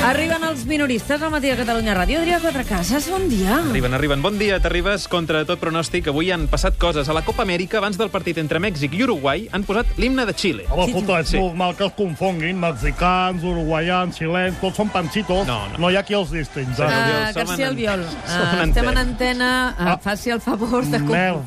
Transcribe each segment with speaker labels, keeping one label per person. Speaker 1: Arriben els minoristes al matí de Catalunya Ràdio. Adrià Quatrecases, bon dia.
Speaker 2: Arriben, arriben. Bon dia, t'arribes contra tot pronòstic. Avui han passat coses. A la Copa Amèrica, abans del partit entre Mèxic i Uruguai, han posat l'himne de Xile.
Speaker 3: Home, puta, és normal que es confonguin mexicans, uruguaians, xilens, tots són pansitos.
Speaker 2: No, no.
Speaker 3: hi ha qui els distingi.
Speaker 2: Sí.
Speaker 3: Ah,
Speaker 1: Uh,
Speaker 2: Som
Speaker 1: García
Speaker 2: en-
Speaker 1: Albiol,
Speaker 2: som
Speaker 1: uh,
Speaker 2: en
Speaker 1: estem en
Speaker 2: antena.
Speaker 1: antena. Uh,
Speaker 3: Ah.
Speaker 1: faci el favor de... com-
Speaker 3: Merda.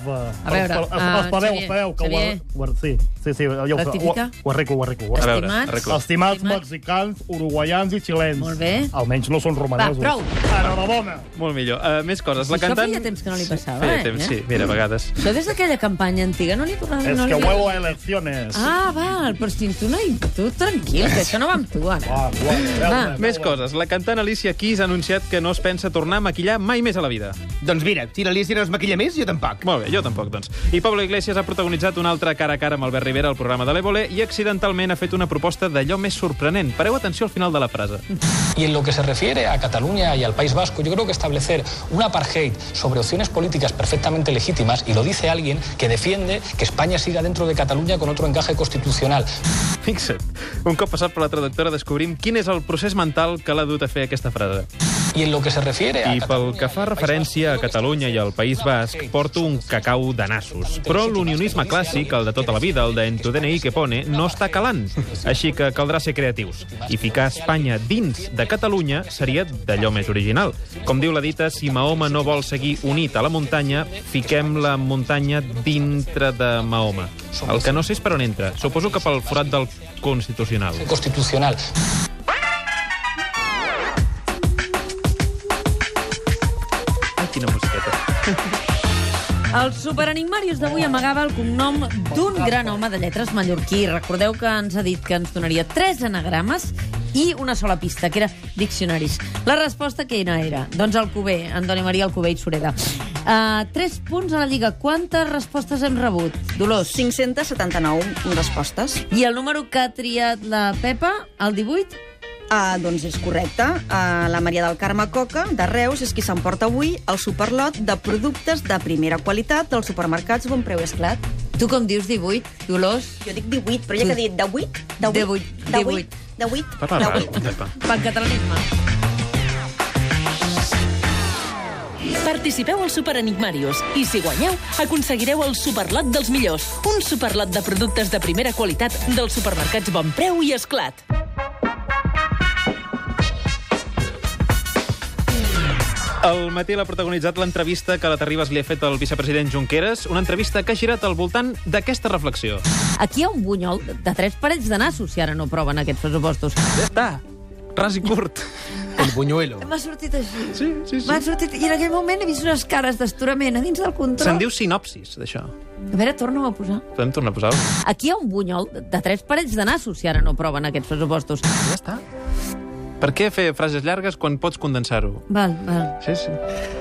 Speaker 1: A veure,
Speaker 3: Espe-
Speaker 1: ah,
Speaker 3: espereu,
Speaker 1: Xavier,
Speaker 3: espereu, que ho,
Speaker 1: Xavier.
Speaker 3: ar- ho, ar- sí, sí, sí, ja ho,
Speaker 1: Rectifica.
Speaker 3: ho, ho arreglo, ho arreglo. Ho
Speaker 2: A
Speaker 3: arreglo.
Speaker 2: veure,
Speaker 1: Estimats.
Speaker 2: arreglo.
Speaker 3: Estimats
Speaker 1: Estimat.
Speaker 3: mexicans, uruguaians i xilens.
Speaker 1: Molt bé.
Speaker 3: Almenys no són romanesos.
Speaker 1: prou.
Speaker 3: Enhorabona.
Speaker 2: Molt millor. Uh, més coses. La
Speaker 1: Això
Speaker 2: cantant...
Speaker 1: feia temps que no li passava,
Speaker 2: feia
Speaker 1: eh?
Speaker 2: temps, sí. Mira, a vegades.
Speaker 1: Això des d'aquella campanya antiga no li tornava...
Speaker 3: Es
Speaker 1: no
Speaker 3: que
Speaker 1: li...
Speaker 3: huevo
Speaker 2: eh?
Speaker 3: a elecciones.
Speaker 1: Ah, val, però si tu, no, hi- tu tranquil, que això no va amb tu, ara.
Speaker 3: Ah, guau, guau,
Speaker 1: Va.
Speaker 3: guau.
Speaker 2: Més coses. La cantant Alicia Keys ha anunciat que no es pensa tornar a maquillar mai més a la vida.
Speaker 4: Doncs mira, si l'Alicia no es maquilla més, jo tampoc.
Speaker 2: Molt bé, jo tampoc, doncs. I Pablo Iglesias ha protagonitzat un altre cara a cara amb Albert Rivera al programa de l'Evole i accidentalment ha fet una proposta d'allò més sorprenent. Pareu atenció al final de la frase.
Speaker 5: Y en lo que se refiere a Cataluña y al País Vasco, yo creo que establecer un apartheid sobre opciones políticas perfectamente legítimas, y lo dice alguien que defiende que España siga dentro de Cataluña con otro encaje constitucional.
Speaker 2: Fixa't. Un cop passat per la traductora descobrim quin és el procés mental que l'ha dut a fer aquesta frase.
Speaker 5: Y en lo que se refiere a
Speaker 2: I pel que fa
Speaker 5: Cataluña y al País
Speaker 2: referència a
Speaker 5: Vasco, yo creo que
Speaker 2: Catalunya i al País Basc,
Speaker 5: establecer un
Speaker 2: porto un cacau de nassos. Però l'unionisme clàssic, el de tota la vida, el de en tu DNI que pone, no està calant. Així que caldrà ser creatius. I ficar Espanya dins de Catalunya seria d'allò més original. Com diu la dita, si Mahoma no vol seguir unit a la muntanya, fiquem la muntanya dintre de Mahoma. El que no sé és per on entra. Suposo que pel forat del Constitucional.
Speaker 5: Constitucional.
Speaker 2: Ai, quina musiqueta.
Speaker 1: El superenigmàrius d'avui amagava el cognom d'un gran home de lletres mallorquí. Recordeu que ens ha dit que ens donaria tres anagrames i una sola pista, que era diccionaris. La resposta quina era? Doncs el Cubé, Antoni Maria Alcubé i Sureda. Uh, tres punts a la Lliga. Quantes respostes hem rebut? Dolors.
Speaker 6: 579 respostes.
Speaker 1: I el número que ha triat la Pepa, el 18,
Speaker 6: Ah, doncs és correcte. Ah, la Maria del Carme Coca, de Reus, és qui s'emporta avui el superlot de productes de primera qualitat dels supermercats Bon Preu i Esclat.
Speaker 1: tu com dius 18, Dolors?
Speaker 6: Jo dic 18, però ja que he dit de 8, de 8,
Speaker 1: Divuit,
Speaker 6: de
Speaker 1: divuit.
Speaker 6: 8, de 8,
Speaker 2: Parla
Speaker 6: de
Speaker 2: raro,
Speaker 6: 8.
Speaker 2: Pepa.
Speaker 1: Pel catalanisme.
Speaker 7: Participeu al Superenigmàrius i, si guanyeu, aconseguireu el superlot dels millors, un superlot de productes de primera qualitat dels supermercats Bon Preu i Esclat.
Speaker 2: El matí l'ha protagonitzat l'entrevista que la Terribas li ha fet al vicepresident Junqueras, una entrevista que ha girat al voltant d'aquesta reflexió.
Speaker 1: Aquí hi ha un bunyol de tres parells de nassos si ara no proven aquests pressupostos.
Speaker 2: Ja està, ras i curt.
Speaker 4: El buñuelo.
Speaker 1: M'ha sortit així.
Speaker 2: Sí, sí,
Speaker 1: M'ha sortit... I en aquell moment he vist unes cares d'astorament a dins del
Speaker 2: Se'n
Speaker 1: control.
Speaker 2: diu sinopsis, d'això.
Speaker 1: A veure, torna-ho a posar.
Speaker 2: Podem tornar a posar-ho?
Speaker 1: Aquí hi ha un bunyol de tres parells de nassos si ara no proven aquests pressupostos.
Speaker 2: Ja està. Per què fer frases llargues quan pots condensar-ho?
Speaker 1: Val, val.
Speaker 2: Sí, sí.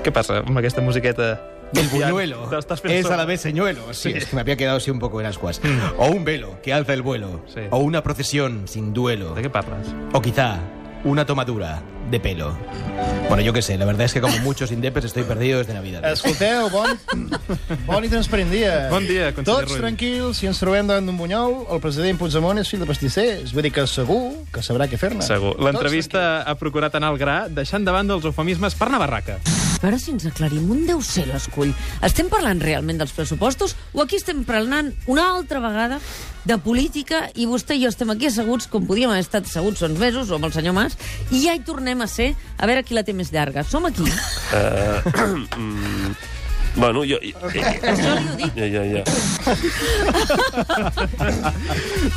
Speaker 2: Què passa amb aquesta musiqueta?
Speaker 4: El buñuelo
Speaker 2: T'estàs fent
Speaker 4: es
Speaker 2: sola.
Speaker 4: a la vez señuelo. Sí, Mm. es que me había quedado así un poco en ascuas. O un velo que alza el vuelo.
Speaker 2: Sí.
Speaker 4: O una procesión sin duelo.
Speaker 2: De què parles?
Speaker 4: O quizá una tomadura de pelo. Bueno, yo qué sé, la verdad es que como muchos indepes estoy perdido desde Navidad.
Speaker 8: Escolteu, bon, bon i transparent dia.
Speaker 2: Bon dia, conseller
Speaker 8: Tots
Speaker 2: Rull.
Speaker 8: tranquils, si ens trobem davant d'un bunyol, el president Puigdemont és fill de pastissers. Vull dir que segur que sabrà què fer-ne.
Speaker 2: Segur.
Speaker 8: Tots
Speaker 2: L'entrevista ha procurat anar al gra, deixant de banda els eufemismes per anar a barraca.
Speaker 1: A veure si ens aclarim un deu ser l'escull. Estem parlant realment dels pressupostos o aquí estem parlant una altra vegada de política i vostè i jo estem aquí asseguts com podíem haver estat asseguts uns mesos o amb el senyor Mas i ja hi tornem a ser a veure qui la té més llarga. Som aquí.
Speaker 9: Eh, mm, Bueno, jo... eh,
Speaker 1: Això li ho dic.
Speaker 9: Ja, ja, ja.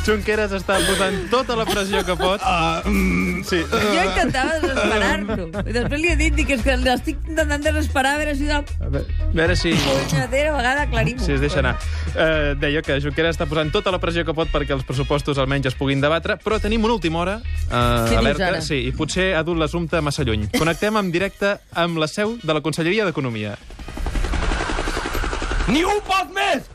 Speaker 2: Junqueras està posant tota la pressió que pot.
Speaker 4: Ah, mm,
Speaker 2: Sí.
Speaker 1: Jo intentava desesperar-lo. I després li he dit dic, és que l'estic intentant desesperar a veure si de
Speaker 2: A veure, a veure si...
Speaker 1: punyetera vegada aclarim-ho.
Speaker 2: Si es deixa anar. Eh, deia que Junqueras està posant tota la pressió que pot perquè els pressupostos almenys es puguin debatre, però tenim una última hora. Eh,
Speaker 1: dius
Speaker 2: alerta,
Speaker 1: ara?
Speaker 2: Sí, i potser ha dut l'assumpte massa lluny. Connectem en directe amb la seu de la Conselleria d'Economia.
Speaker 4: Ni un pot més!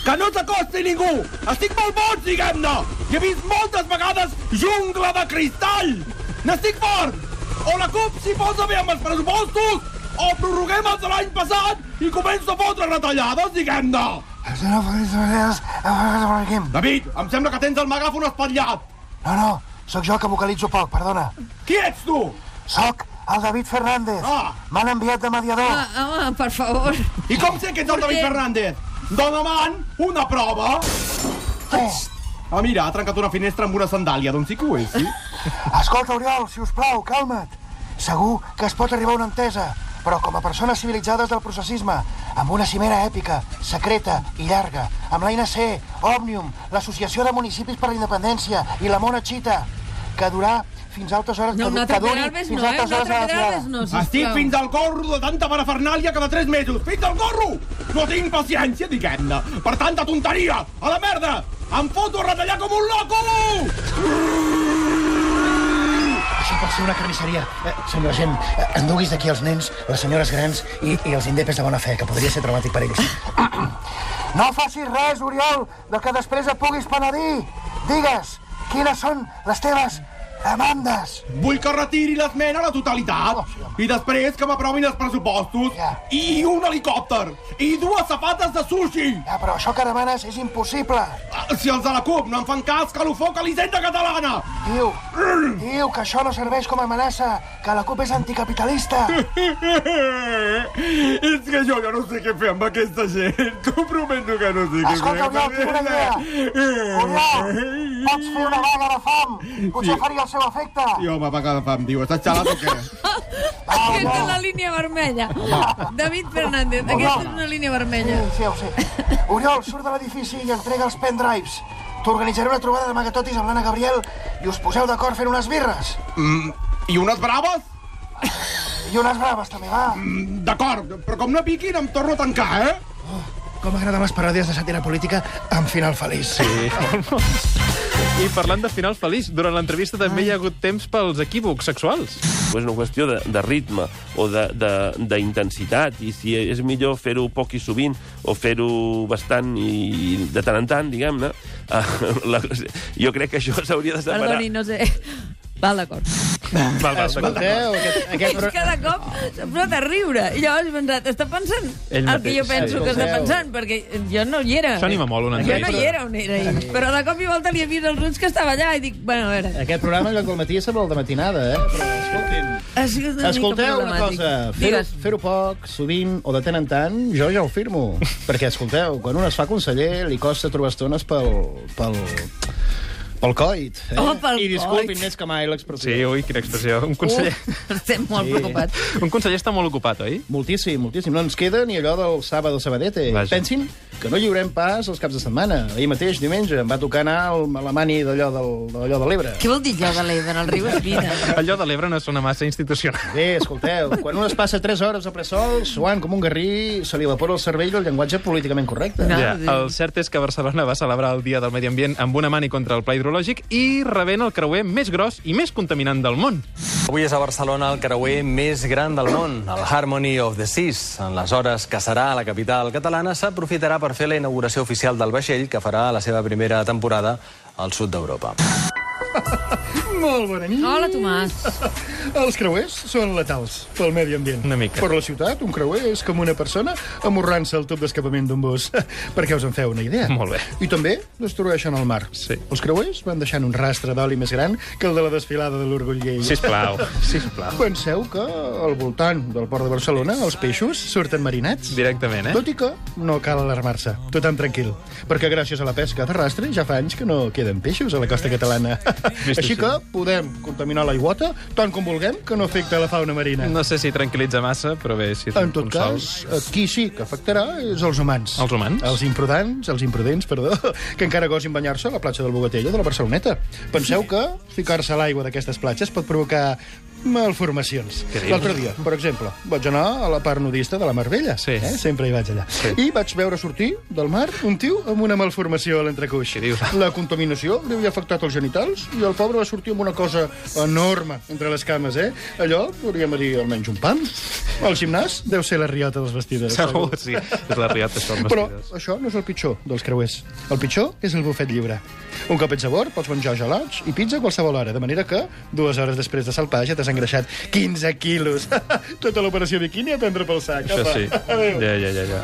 Speaker 4: Que no t'acosti ningú! Estic molt boig, diguem-ne! I he vist moltes vegades jungla de cristall! N'estic fort! O la CUP s'hi posa bé amb els pressupostos, o prorroguem els de l'any passat i comença a fotre retallades, diguem-ne! David, em sembla que tens el megàfon espatllat!
Speaker 8: tranquils. No, no,
Speaker 9: Sóc jo que vocalitzo poc, perdona.
Speaker 4: Qui ets tu?
Speaker 9: Sóc el David Fernández.
Speaker 4: Ah.
Speaker 9: M'han enviat de mediador.
Speaker 1: Ah, home, per favor.
Speaker 4: I com sé que ets el David Fernández? Dona'm una prova. Oh. Ah, mira, ha trencat una finestra amb una sandàlia, doncs sí que ho és, sí?
Speaker 9: Escolta, Oriol, si us plau, calma't. Segur que es pot arribar a una entesa, però com a persones civilitzades del processisme, amb una cimera èpica, secreta i llarga, amb la INC, Òmnium, l'Associació de Municipis per la Independència i la Mona Chita, que durà fins a altes hores...
Speaker 1: No,
Speaker 9: que,
Speaker 1: un
Speaker 9: du-
Speaker 1: altre
Speaker 9: que duri
Speaker 1: Pedralbes
Speaker 9: fins
Speaker 1: no, eh?
Speaker 9: a altes
Speaker 1: Un
Speaker 9: hores
Speaker 1: altre
Speaker 9: de la
Speaker 1: Pedralbes
Speaker 9: diada.
Speaker 1: no, sisplau.
Speaker 4: Estic fins al gorro de tanta parafernàlia cada 3 mesos. Fins al gorro! No tinc paciència, diguem-ne, per tanta tonteria. A la merda! Em foto a retallar com un loco!
Speaker 9: Això pot ser una carnisseria. Eh, senyora gent, eh, enduguis d'aquí els nens, les senyores grans i, i els indepes de bona fe, que podria ser traumàtic per ells. No facis res, Oriol, del que després et puguis penedir. Digues, quines són les teves demandes?
Speaker 4: Vull que retiri l'esmena a la totalitat. I després que m'aprovin els pressupostos.
Speaker 9: Ja.
Speaker 4: I un helicòpter. I dues safates de sushi.
Speaker 9: Ja, però això que demanes és impossible.
Speaker 4: Ah, Si els de la CUP no em fan cas, que lo foc a l'Hisenda catalana.
Speaker 9: Diu, diu que això no serveix com a amenaça, que la CUP és anticapitalista.
Speaker 4: És que jo ja no sé què fer amb aquesta gent. T'ho prometo que Ah, no sé
Speaker 9: Escolta, Oriol, tinc una idea. Oriol, pots fer una vaga de fam.
Speaker 4: Sí.
Speaker 9: Potser faria el seu efecte.
Speaker 4: I home, va cada fam, diu. Estàs xalat o què?
Speaker 1: Aquesta és la línia vermella. David Fernández, aquesta és una línia vermella.
Speaker 9: Sí, ho sé. Oriol, surt de l'edifici i entrega els pendrives. T'organitzaré una trobada de magatotis amb l'Anna Gabriel i us poseu d'acord fent unes birres.
Speaker 4: Mm, I unes braves?
Speaker 9: I unes braves, també, va.
Speaker 4: Mm, D'acord, però com no piquin em torno a tancar, eh?
Speaker 9: Oh, Com m'agraden les paròdies de sàtira política amb final feliç. Sí.
Speaker 2: I parlant de final feliç, durant l'entrevista també hi ha hagut temps pels equívocs sexuals.
Speaker 10: És una qüestió de, de ritme o d'intensitat i si és millor fer-ho poc i sovint o fer-ho bastant i, i de tant en tant, diguem-ne, eh, la, jo crec que això s'hauria de separar.
Speaker 1: Perdoni, no sé... Val, d'acord.
Speaker 2: Val, val, d'acord.
Speaker 8: Escolteu, aquest,
Speaker 1: És que
Speaker 8: aquest, pro...
Speaker 1: de cop s'ha posat a riure. I llavors he pensat, està pensant el
Speaker 2: Ell
Speaker 1: que
Speaker 2: mateix.
Speaker 1: jo penso que està
Speaker 8: Escolteu.
Speaker 1: pensant, perquè jo no hi era.
Speaker 2: Això anima molt una
Speaker 1: Jo no
Speaker 2: entrevista.
Speaker 1: hi era on era ell. Però de cop i volta li he vist els ulls que estava allà i dic, bueno, a veure...
Speaker 8: aquest programa, en lloc del matí, sembla el de matinada, eh? Però, escoltin...
Speaker 1: És una mica
Speaker 8: Escolteu una
Speaker 1: problemàtic.
Speaker 8: cosa, fer-ho
Speaker 1: Digues.
Speaker 8: fer poc, sovint o de tant en tant, jo ja ho firmo. Perquè, escolteu, quan un es fa conseller li costa trobar estones pel... pel pel coit. Eh?
Speaker 1: Oh, pel
Speaker 8: I disculpin
Speaker 1: coit.
Speaker 8: més que mai l'expressió.
Speaker 2: Sí, ui, quina expressió. Un conseller...
Speaker 1: Uh, estem molt sí. preocupats.
Speaker 2: Un conseller està molt ocupat, oi?
Speaker 8: Moltíssim, moltíssim. No ens queda ni allò del sábado sabadete.
Speaker 2: Vaja.
Speaker 8: Pensin que no lliurem pas els caps de setmana. Ahir mateix, diumenge, em va tocar anar al, a la mani d'allò del- d'allò de l'Ebre.
Speaker 1: Què vol dir jo de l'Ebre? El riu és vida.
Speaker 2: Allò de l'Ebre no sona massa institucional.
Speaker 8: Bé, escolteu, quan un es passa 3 hores a ple sol, suant com un garrí, se li evapora el cervell el llenguatge políticament correcte.
Speaker 1: No.
Speaker 2: Ja,
Speaker 1: sí.
Speaker 2: el cert és que Barcelona va celebrar el Dia del Medi Ambient amb una mani contra el pla hidrològic i rebent el creuer més gros i més contaminant del món.
Speaker 11: Avui és a Barcelona el creuer més gran del món, el Harmony of the Seas. En les hores que serà a la capital catalana, s'aprofitarà per fer la inauguració oficial del vaixell que farà la seva primera temporada al sud d'Europa.
Speaker 8: Molt bona nit.
Speaker 1: Hola, Tomàs.
Speaker 8: Els creuers són letals pel medi ambient.
Speaker 2: Una mica.
Speaker 8: Per la ciutat, un creuer és com una persona amorrant-se al tub d'escapament d'un bus. Perquè us en feu una idea.
Speaker 2: Molt bé.
Speaker 8: I també destrueixen el mar.
Speaker 2: Sí.
Speaker 8: Els creuers van deixant un rastre d'oli més gran que el de la desfilada de l'Orgull Lleida.
Speaker 2: Sisplau, sisplau.
Speaker 8: Penseu que al voltant del port de Barcelona els peixos surten marinats.
Speaker 2: Directament, eh?
Speaker 8: Tot i que no cal alarmar-se, tothom tranquil, perquè gràcies a la pesca de rastre ja fa anys que no queden peixos a la costa catalana.
Speaker 2: Vist
Speaker 8: Així
Speaker 2: així.
Speaker 8: que podem contaminar l'aiguata tant com vulguem que no afecta la fauna marina.
Speaker 2: No sé si tranquil·litza massa, però bé, si
Speaker 8: En tot
Speaker 2: consol.
Speaker 8: cas, qui sí que afectarà és els humans.
Speaker 2: Els humans?
Speaker 8: Els imprudents, els imprudents, perdó, que encara gosin banyar-se a la platja del Bogatell o de la Barceloneta. Penseu que ficar-se a l'aigua d'aquestes platges pot provocar malformacions.
Speaker 2: Què dius?
Speaker 8: L'altre dia, per exemple, vaig anar a la part nudista de la Mar Vella.
Speaker 2: Sí.
Speaker 8: Eh? Sempre hi vaig allà. Sí. I vaig veure sortir del mar un tio amb una malformació a l'entrecuix.
Speaker 2: Què dius?
Speaker 8: La contaminació li havia afectat els genitals i el pobre va sortir amb una cosa enorme entre les cames, eh? Allò, podríem dir, almenys un pam. El gimnàs deu ser la riota dels vestidors.
Speaker 2: Segur, sí. És la riota, són
Speaker 8: Però
Speaker 2: vestidors.
Speaker 8: això no és el pitjor dels creuers. El pitjor és el bufet lliure. Un cop ets a bord, pots menjar gelats i pizza a qualsevol hora, de manera que dues hores després de salpar ja t'has engreixat 15 quilos. Tota l'operació biquini a prendre pel sac.
Speaker 2: Això
Speaker 8: Apa.
Speaker 2: sí.
Speaker 8: Adéu.
Speaker 2: Ja, ja, ja, ja.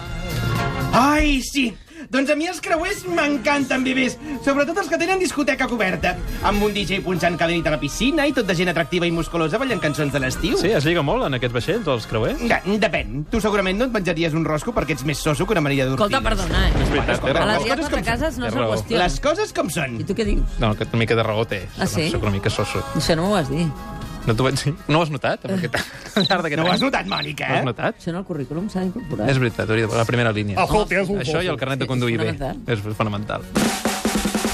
Speaker 4: Ai, sí!
Speaker 12: Doncs a mi els creuers m'encanten, bebès. Sobretot els que tenen discoteca coberta. Amb un DJ punxant cada nit a la piscina i tot de gent atractiva i musculosa ballant cançons de l'estiu.
Speaker 2: Sí, es lliga molt en aquests vaixells, els creuers?
Speaker 12: Ja, depèn. Tu segurament no et menjaries un rosco perquè ets més soso que una Maria d'Ortigues.
Speaker 1: Escolta, perdona, eh?
Speaker 2: És veritat,
Speaker 1: A
Speaker 2: té raó.
Speaker 1: les gates de cases no
Speaker 2: Té
Speaker 1: és la
Speaker 2: raó.
Speaker 1: qüestió.
Speaker 2: Les
Speaker 12: coses com són.
Speaker 1: I tu què dius?
Speaker 2: No, que una mica de raó té.
Speaker 1: Ah, sí?
Speaker 2: Sóc una mica soso.
Speaker 1: Això no m'ho vas dir.
Speaker 2: No t'ho vaig dir? No ho has notat? Amb
Speaker 1: Eh.
Speaker 2: Aquest... al llarg d'aquest
Speaker 1: No ho
Speaker 2: any?
Speaker 1: has notat, Mònica,
Speaker 2: No ho
Speaker 1: eh?
Speaker 2: has notat?
Speaker 1: Això en el currículum s'ha d'incorporar.
Speaker 2: És veritat, hauria de la primera línia.
Speaker 1: Ojo, que Ah, és un
Speaker 2: Això i el carnet de
Speaker 1: Sí,
Speaker 2: conduir
Speaker 1: és
Speaker 2: bé.
Speaker 1: fonamental.
Speaker 2: És fonamental.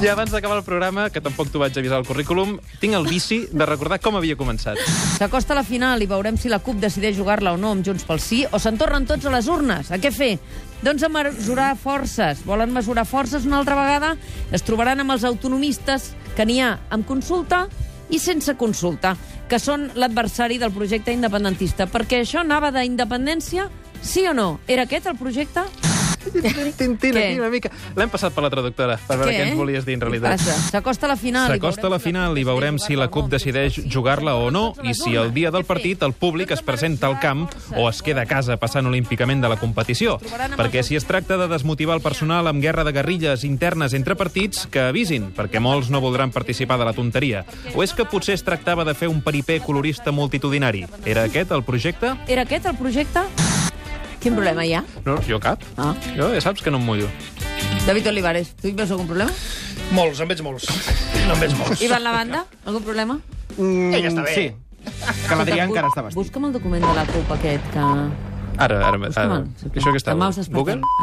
Speaker 2: I abans d'acabar el programa, que tampoc t'ho vaig avisar al currículum, tinc el vici de recordar com havia començat.
Speaker 1: S'acosta la final i veurem si la CUP decideix jugar-la o no amb Junts pel Sí o se'n tornen tots a les urnes. A què fer? Doncs a mesurar forces. Volen mesurar forces una altra vegada? Es trobaran amb els autonomistes, que n'hi ha amb consulta i sense consulta, que són l'adversari del projecte independentista. Perquè això anava d'independència, sí o no? Era aquest el projecte?
Speaker 2: Tintin, aquí una mica. L'hem passat per la traductora, per veure
Speaker 1: Què?
Speaker 2: què ens volies dir en
Speaker 1: Passa.
Speaker 2: realitat.
Speaker 1: S'acosta la final. i
Speaker 2: S'acosta la final i veurem si la CUP decideix jugar-la o no i si el dia del partit el públic es presenta al camp o es queda a casa passant olímpicament de la competició. Perquè si es tracta de desmotivar el personal amb guerra de guerrilles internes entre partits, que avisin, perquè molts no voldran participar de la tonteria. O és que potser es tractava de fer un periper colorista multitudinari? Era aquest el projecte?
Speaker 1: Era aquest el projecte? Quin problema hi ha?
Speaker 2: No, jo cap.
Speaker 1: Ah.
Speaker 2: Jo ja saps que no em mullo.
Speaker 1: David Olivares, tu hi veus algun problema?
Speaker 8: Molts, en veig molts. No en veig molts.
Speaker 1: Ivan Lavanda, algun problema? Tota
Speaker 12: Mm,
Speaker 8: Ella està bé.
Speaker 12: Sí. Que l'Adrià encara està
Speaker 1: Busca'm el document de la CUP aquest que...
Speaker 2: Ara, ara, ara,
Speaker 1: Busca'm.
Speaker 2: Ah, això que està...
Speaker 1: Demà us despertem.
Speaker 2: Google?